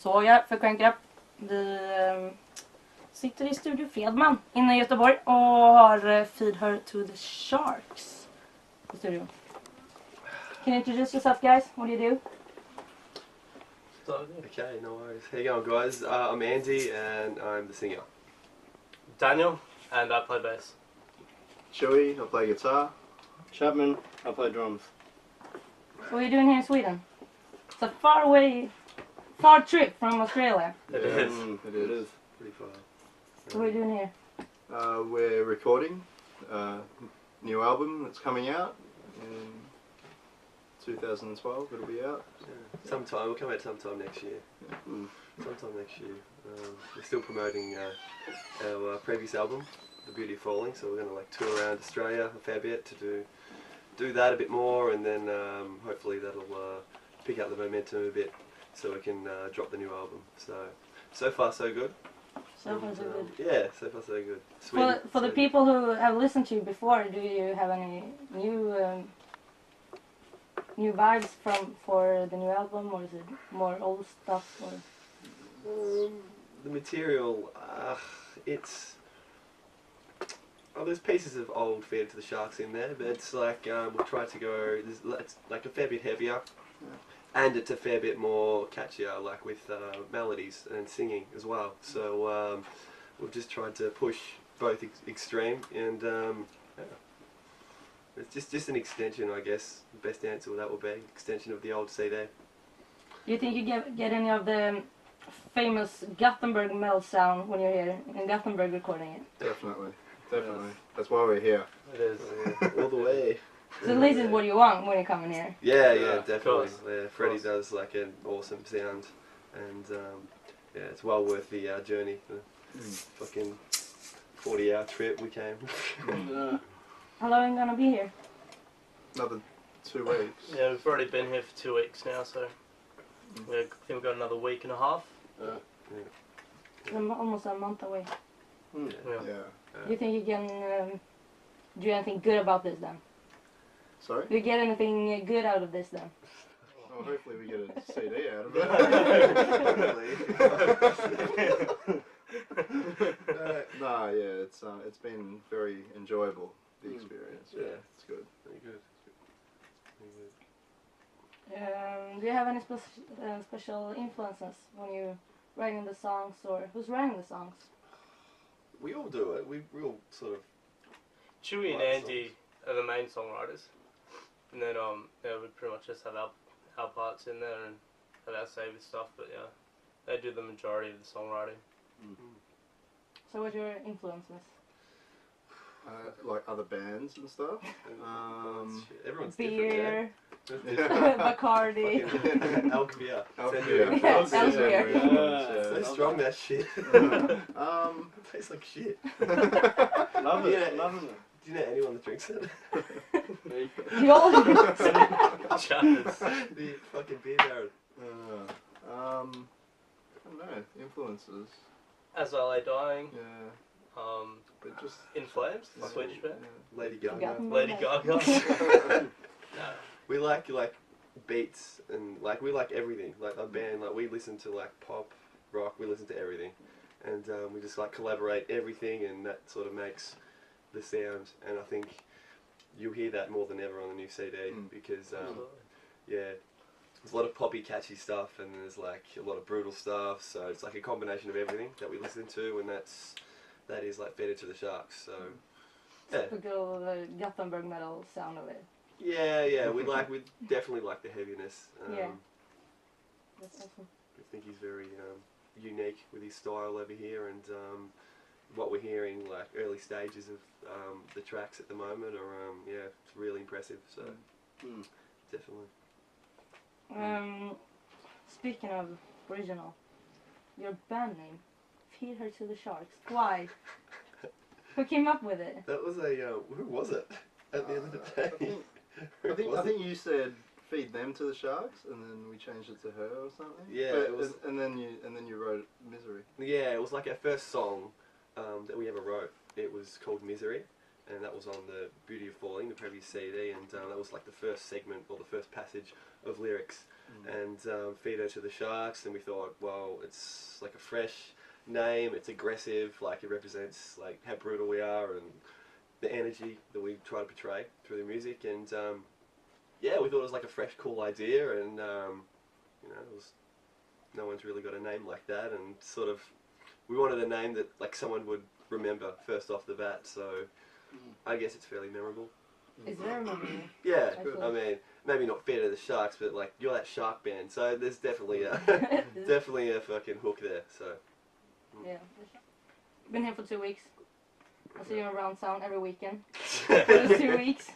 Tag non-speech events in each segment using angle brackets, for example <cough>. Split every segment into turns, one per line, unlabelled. Så ja, för Crank It Up. Vi ehm, sitter i Studio Fredman inne i Göteborg och har eh, Feed Her To The Sharks i studion. Can you introduce yourself guys? What do you do?
Okay, no worries. How you going, guys? Uh, I'm Andy, and I'm the singer.
Daniel, and I play bass.
Chewy, I play guitar. Chapman, I play drums.
What are you doing here in Sweden? It's a far away, far trip from Australia.
It is.
It is.
Pretty far.
What are you doing here?
Uh, we're recording a new album that's coming out in 2012. It'll be out.
Yeah. Sometime, we'll come out sometime next year.
Mm.
Sometime next year. Um, we're still promoting uh, our uh, previous album, The Beauty of Falling, so we're going to like tour around Australia a fair bit to do do that a bit more, and then um, hopefully that'll uh, pick up the momentum a bit so we can uh, drop the new album. So, so far so good.
So far so
Um,
good.
Yeah, so far so good. Sweden,
For, for the
Sweden.
people who have listened to you before, do you have any new um, new vibes from for the new album, or is it more old stuff? Or
Um, the material, uh, it's. Oh, there's pieces of old Feed to the Sharks in there, but it's like um, we try to go. there's- It's like a fair bit heavier, and it's a fair bit more catchier, like with uh, melodies and singing as well. So um, we've just tried to push both ex- extreme, and um, yeah. it's just just an extension, I guess. The best answer that will be extension of the old CD.
do you think you get get any of the famous Gothenburg melt sound when you're here in Gothenburg recording it?
Definitely. Definitely. That's why we're here.
It is.
All the way.
So this is what you want when you come in here.
Yeah,
Yeah,
yeah,
of
definitely.
course,
Yeah, Freddie
course.
does like an awesome sound, and um, yeah, it's well worth the uh, journey. The
Mm.
fucking forty-hour trip we came. <laughs>
How long are you gonna be here?
Another two weeks.
Yeah, we've already been here for two weeks now, so we think we've got another week and a half.
I'm almost a month away.
Mm.
Yeah.
Yeah.
Do you think you can um, do anything good about this then?
Sorry?
Do you get anything uh, good out of this then?
Well, hopefully we get a CD out of it.
<laughs>
<laughs> no, yeah, it's uh, it's been very enjoyable
Hmm.
the experience. Yeah,
Yeah.
it's good.
Pretty good. Pretty good.
Um, do you have any spec- uh, special influences when you writing the songs, or who's writing the songs?
We all do it. We we all sort of
Chewy and
Right,
Andy are the main songwriters, and then um, yeah, we pretty much just have our our parts in there and have our saved stuff. But yeah, they do the majority of the songwriting. <laughs>
So what your influences?
Uh, like other bands and stuff. Um,
everyone's
Beer,
different. Yeah.
<laughs> Bacardi.
<laughs>
<laughs>
Fucking Elk beer.
Elk
Send <laughs>
beer.
you-
Yeah, Elk beer.
So strong that shit.
<laughs>
<laughs>
um, <laughs>
tastes like shit.
Love it,
Yeah.
loving it.
Do you know anyone that drinks it? <laughs>
You all-
Charters.
<laughs> the fucking beer baron.
uh, um, I don't know influences.
As I lay dying,
Yeah,
um,
but just
in flames,
yeah,
switch bit.
yeah.
Lady
Gaga.
Gaga.
Lady Gaga. <laughs> no.
We like like beats and like we like everything. Like our band, like we listen to like pop, rock. We listen to everything, and um, we just like collaborate everything, and that sort of makes the sound. And I think you hear that more than ever on the new CD
Mm.
because
Mm-hmm.
um, yeah, there's a lot of poppy, catchy stuff, and there's like a lot of brutal stuff. So it's like a combination of everything that we listen to, and that's that is like fed to the sharks. So. Yeah.
Typical uh, Gothenburg metal sound of it.
Yeah, yeah, we like we definitely like the heaviness. Um,
Yeah. That's awesome.
I think he's very um, unique with his style over here, and um, what we're hearing, like early stages of um, the tracks at the moment, are um, yeah, it's really impressive. So Hmm.
Mm.
definitely,
Um, speaking of original, your band name, Feed Her to the Sharks. <laughs> Why? Who came up with it?
that was a uh, who was it at the end of the
Uh, I
day? <laughs>
think-
Who
I think
was
I
it?
think you said feed them to the sharks, and then we changed it to her or something.
Yeah,
But-
it was-
and, and then you and then you wrote misery.
Yeah, it was like our first song um, that we ever wrote. It was called Misery, and that was on the uh, Beauty of Falling, the previous CD, and um, that was like the first segment or the first passage of lyrics. and um, feed her to the sharks. And we thought, well, it's like a fresh name. It's aggressive. Like it represents like how brutal we are and the energy that we try to portray through the music. And um, yeah, we thought it was like a fresh, cool idea. And um, you know, it was no one's really got a name like that. And sort of, we wanted a name that like someone would remember first off the bat. So I guess it's fairly memorable.
Is there a movie?
Yeah,
I feel-
I mean, maybe not fair to the sharks, but like you're that shark band, so there's
<laughs>
definitely a <laughs> definitely a fucking hook there. So
yeah. Been here for two weeks. I'll see you around town every <laughs> weekend for those two
<laughs> we
weeks.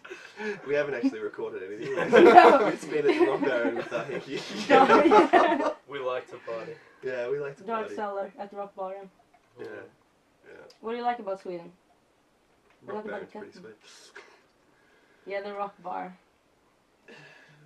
haven't actually recorded anything.
<laughs> No.
<laughs> it's been a long road <laughs> with
<laughs>
our hickey.
Dark,
We like to party.
<laughs> yeah, we like to
dark
party.
cellar at Rock Baren.
Yeah,
What do you like about Sweden?
rock
What about
band's pretty sweet.
Yeah, the rock bar.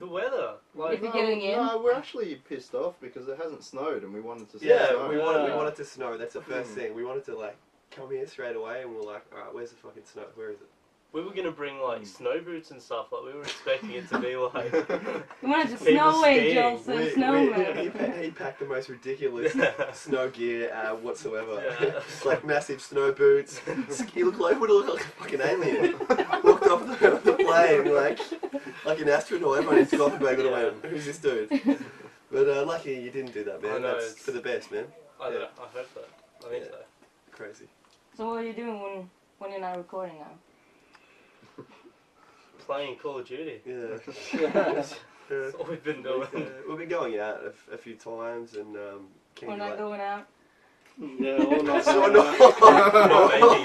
The weather. Like,
If you're getting in.
No, we're actually pissed off because it hasn't snowed and we wanted to see
Yeah,
snow. <laughs>
we wanted we
Yeah.
wanted to snow. That's the first
Mm.
thing we wanted to like come here straight away, and we're like, all right, where's the fucking snow? Where is it?
we were gonna bring
Mm.
like snow boots and stuff. Like we were expecting it
<laughs>
to be
<laughs>
like.
You wanted to
People
snow angels
skiing.
and
he,
snowmen.
pa- he packed the most <laughs> ridiculous snow gear uh, whatsoever.
Yeah.
It's like massive snow boots. He looked like would have looked like a fucking alien. Walked off the, the
<laughs>
plane like like an astronaut. Everyone in Gothenburg would have went, "Who's this dude?" But uh, lucky you didn't do that,
I
man.
know,
That's
it's-
for the best, man.
I don't
Yeah.
know. I hope so. I think
Yeah.
so.
Crazy.
so what are you doing when, when you're not recording now?
Playing Call of Duty.
Yeah. <laughs> Uh,
That's all we've been
uh,
doing. <laughs>
we've been going out a, f- a few times and um, King
We're not
like,
going out.
Yeah,
<laughs>
all not
so <laughs> we're
going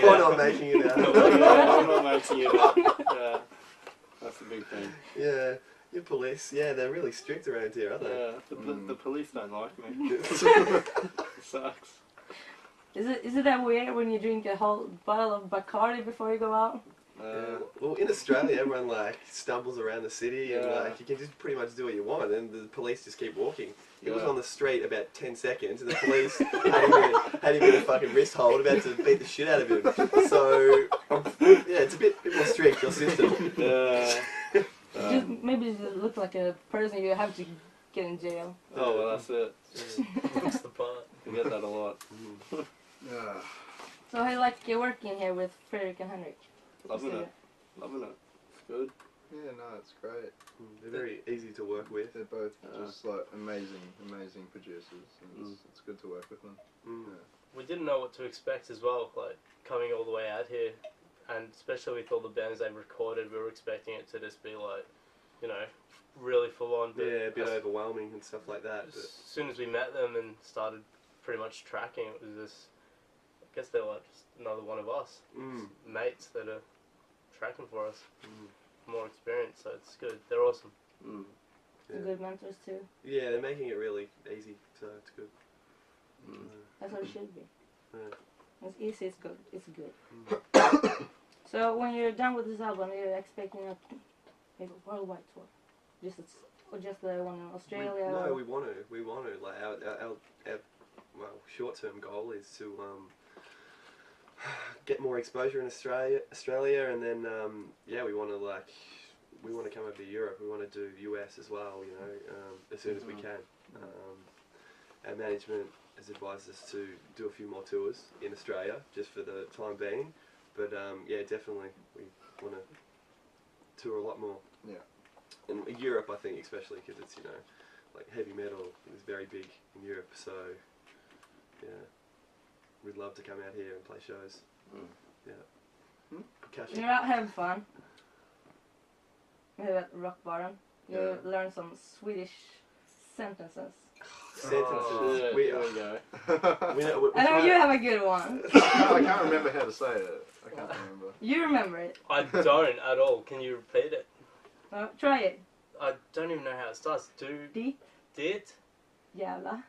not,
<laughs>
out.
making it
we're <laughs> not making
out.
it out.
Yeah, all not making it up. Yeah, that's the big thing.
Yeah, your police. Yeah, they're really strict around here, aren't they?
Yeah, the, pol- the police don't like me.
<laughs>
Sucks.
Is it is it that weird when you drink a whole bottle of Bacardi before you go out?
Uh,
well, in Australia, everyone like stumbles around the city, and
Yeah.
like you can just pretty much do what you want, and the police just keep walking. He was
Yeah.
on the street about ten seconds, and the police <laughs> had him in a, had him in a fucking wrist hold, about to beat the shit out of him. <laughs> So um, yeah, it's a bit, bit more strict your system.
yeah.
Uh,
Just maybe you just look like a person you have to get in jail. <laughs>
Oh, well, that's it.
That's the part.
We get that a lot.
Ah,
So how do you like uh, working here with Frederick and Henrik?
Loving it. Loving it. It's good.
yeah, no, it's great.
They're very easy to work with.
They're both
Yeah.
just like amazing, amazing producers. And it's, it's good to work with them.
Mm.
We didn't know what to expect as well. Like coming all the way out here, and especially with all the bands they've recorded, we were expecting it to just be like, you know, really full on. But
Yeah, a bit
as,
overwhelming and stuff like that.
as
But
soon as we met them and started pretty much tracking, it was just. I guess they're like just another one of us.
mm.
mates that are tracking for us,
Mm.
more experience, so it's good. They're awesome.
Mm.
Yeah.
Good mentors too.
yeah, they're making it really easy, so it's good.
That's how it should be.
Yeah.
It's easy, it's good. It's good.
<coughs>
so when you're done with this album, you're expecting a, a worldwide tour, just a, or just the one in Australia.
We,
or-
no, we want to. We want to. Like our our, our, our well, short-term goal is to um, <sighs> get more exposure in Australia, Australia, and then um, yeah, we want to like we want to come over to Europe. We want to do US as well. You know, um, as soon as we
Mhm.
can. Um, our management has advised us to do a few more tours in Australia just for the time being. But um, yeah, definitely we want to tour a lot more.
Yeah.
And Europe, I think, especially because it's you know, like heavy metal is very big in Europe. So yeah, we'd love to come out here and play shows.
Mm.
Yeah.
Hmm?
Percussion.
You're out having fun. You're at Rock Baron. You
Yeah.
learn some Swedish sentences.
Sentences.
Oh,
Yeah,
we,
there we go.
we know, we,
I know
we-
you have a good one.
No, <laughs> I can't remember how to say it. I can't remember.
You remember it.
<laughs>
I don't at all. Can you repeat it?
Uh, try it.
I don't even know how it starts. Do
Ditt
det
jävla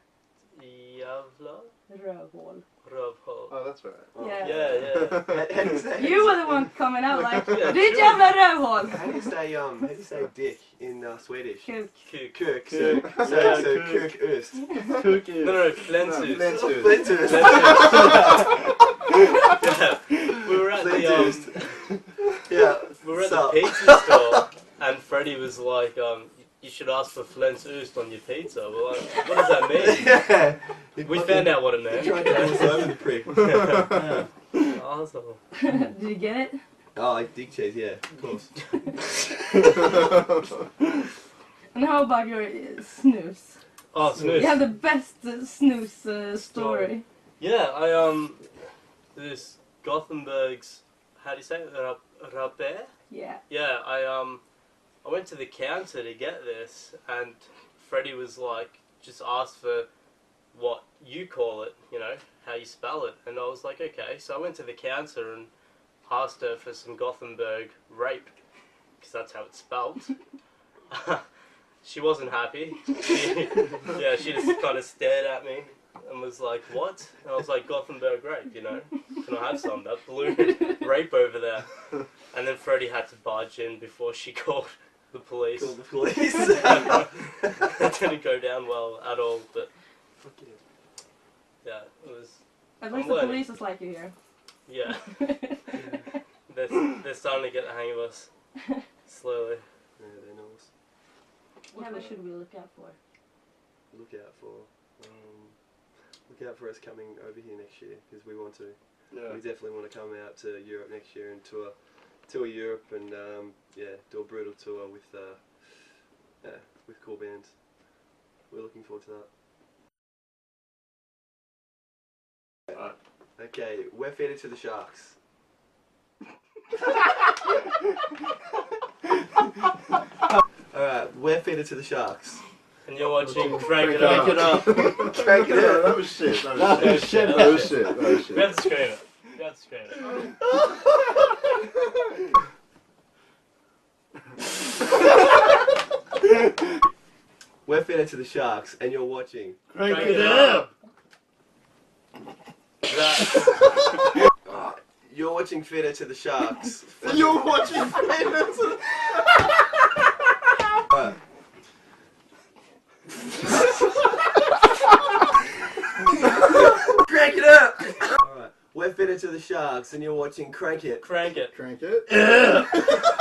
jävla
rövhål.
rövhål.
Oh, that's right.
Oh.
Yeah.
Yeah,
<laughs>
yeah.
How
<laughs>
do you say-
You were the one coming out like,
Yeah,
ditt
sure.
jävla rövhål!
How <laughs> do you say um? How do you say dick in uh, Swedish?
Kuk. <laughs>
Kuk.
Kirk. <laughs> So,
Kirk.
so,
Yeah,
so
Kirk.
Kirk Öst.
<laughs>
Cookies.
No, no,
No,
<laughs>
flensus.
flens-
Lensus.
Lensus.
<laughs> we were at the
Lensus.
um,
Yeah.
<laughs> we were at
Sup.
the pizza store, and Freddie was like, um, you should ask for Flens Oost on your pizza. We're like, what does that mean?
yeah.
<laughs> We found out what it
They <laughs>
meant.
tried to pull us over the prick.
Yeah. Arsehole.
Did you get it?
<laughs> Oh, like dick cheese, yeah, of course.
And how about your uh, snooze?
Oh, snooze.
You have the best uh, snooze uh, story.
Yeah, I um, this Gothenburg's how do you say it? Ra- Rabe?
Yeah.
Yeah, I um, I went to the counter to get this, and Freddie was like, just asked for what you call it, you know, how you spell it, and I was like, okay. So I went to the counter and asked her for some Gothenburg rape, because that's how it's spelled. <laughs> she wasn't happy. She, yeah, she just kind of stared at me and was like, "What?" And I was like, "Gothenburg rape, you know? Can I have some? That
<laughs>
blue rape over there." And then Freddie had to barge in before she <laughs> called the police.
Call the <laughs> police.
<laughs> it didn't go down well at all, but yeah, it was.
At
I'm
least the
learning.
police is like you here.
Yeah, they're, they're starting to get the hang of us
<laughs>
slowly.
Yeah, they're nice.
Yeah, what should we look out for?
Look out for. Um, look out for us coming over here next year because we want to. We
Yeah.
definitely want to come out to Europe next year and tour, tour Europe and um, yeah, do a brutal tour with uh, yeah, with cool bands. We're looking forward to that.
Alright.
Okay, we're fed to the
<laughs>
sharks. All right, we're fed to the sharks.
And you're watching
Crank
Crank It
it
Up.
up.
Crank it up. That was shit. That was
That
shit.
was shit.
That was shit. That was
We have
shit.
to scream it. We have to scream it.
We're fed to the sharks, and you're watching.
Crank
Crank
it
it
up.
That,
Ah, you're watching Fed to the sharks.
You're watching Fred.
Alright. Crank it up! Alright, we're fitted to the sharks and you're watching Crank It.
crank it.
Crank it.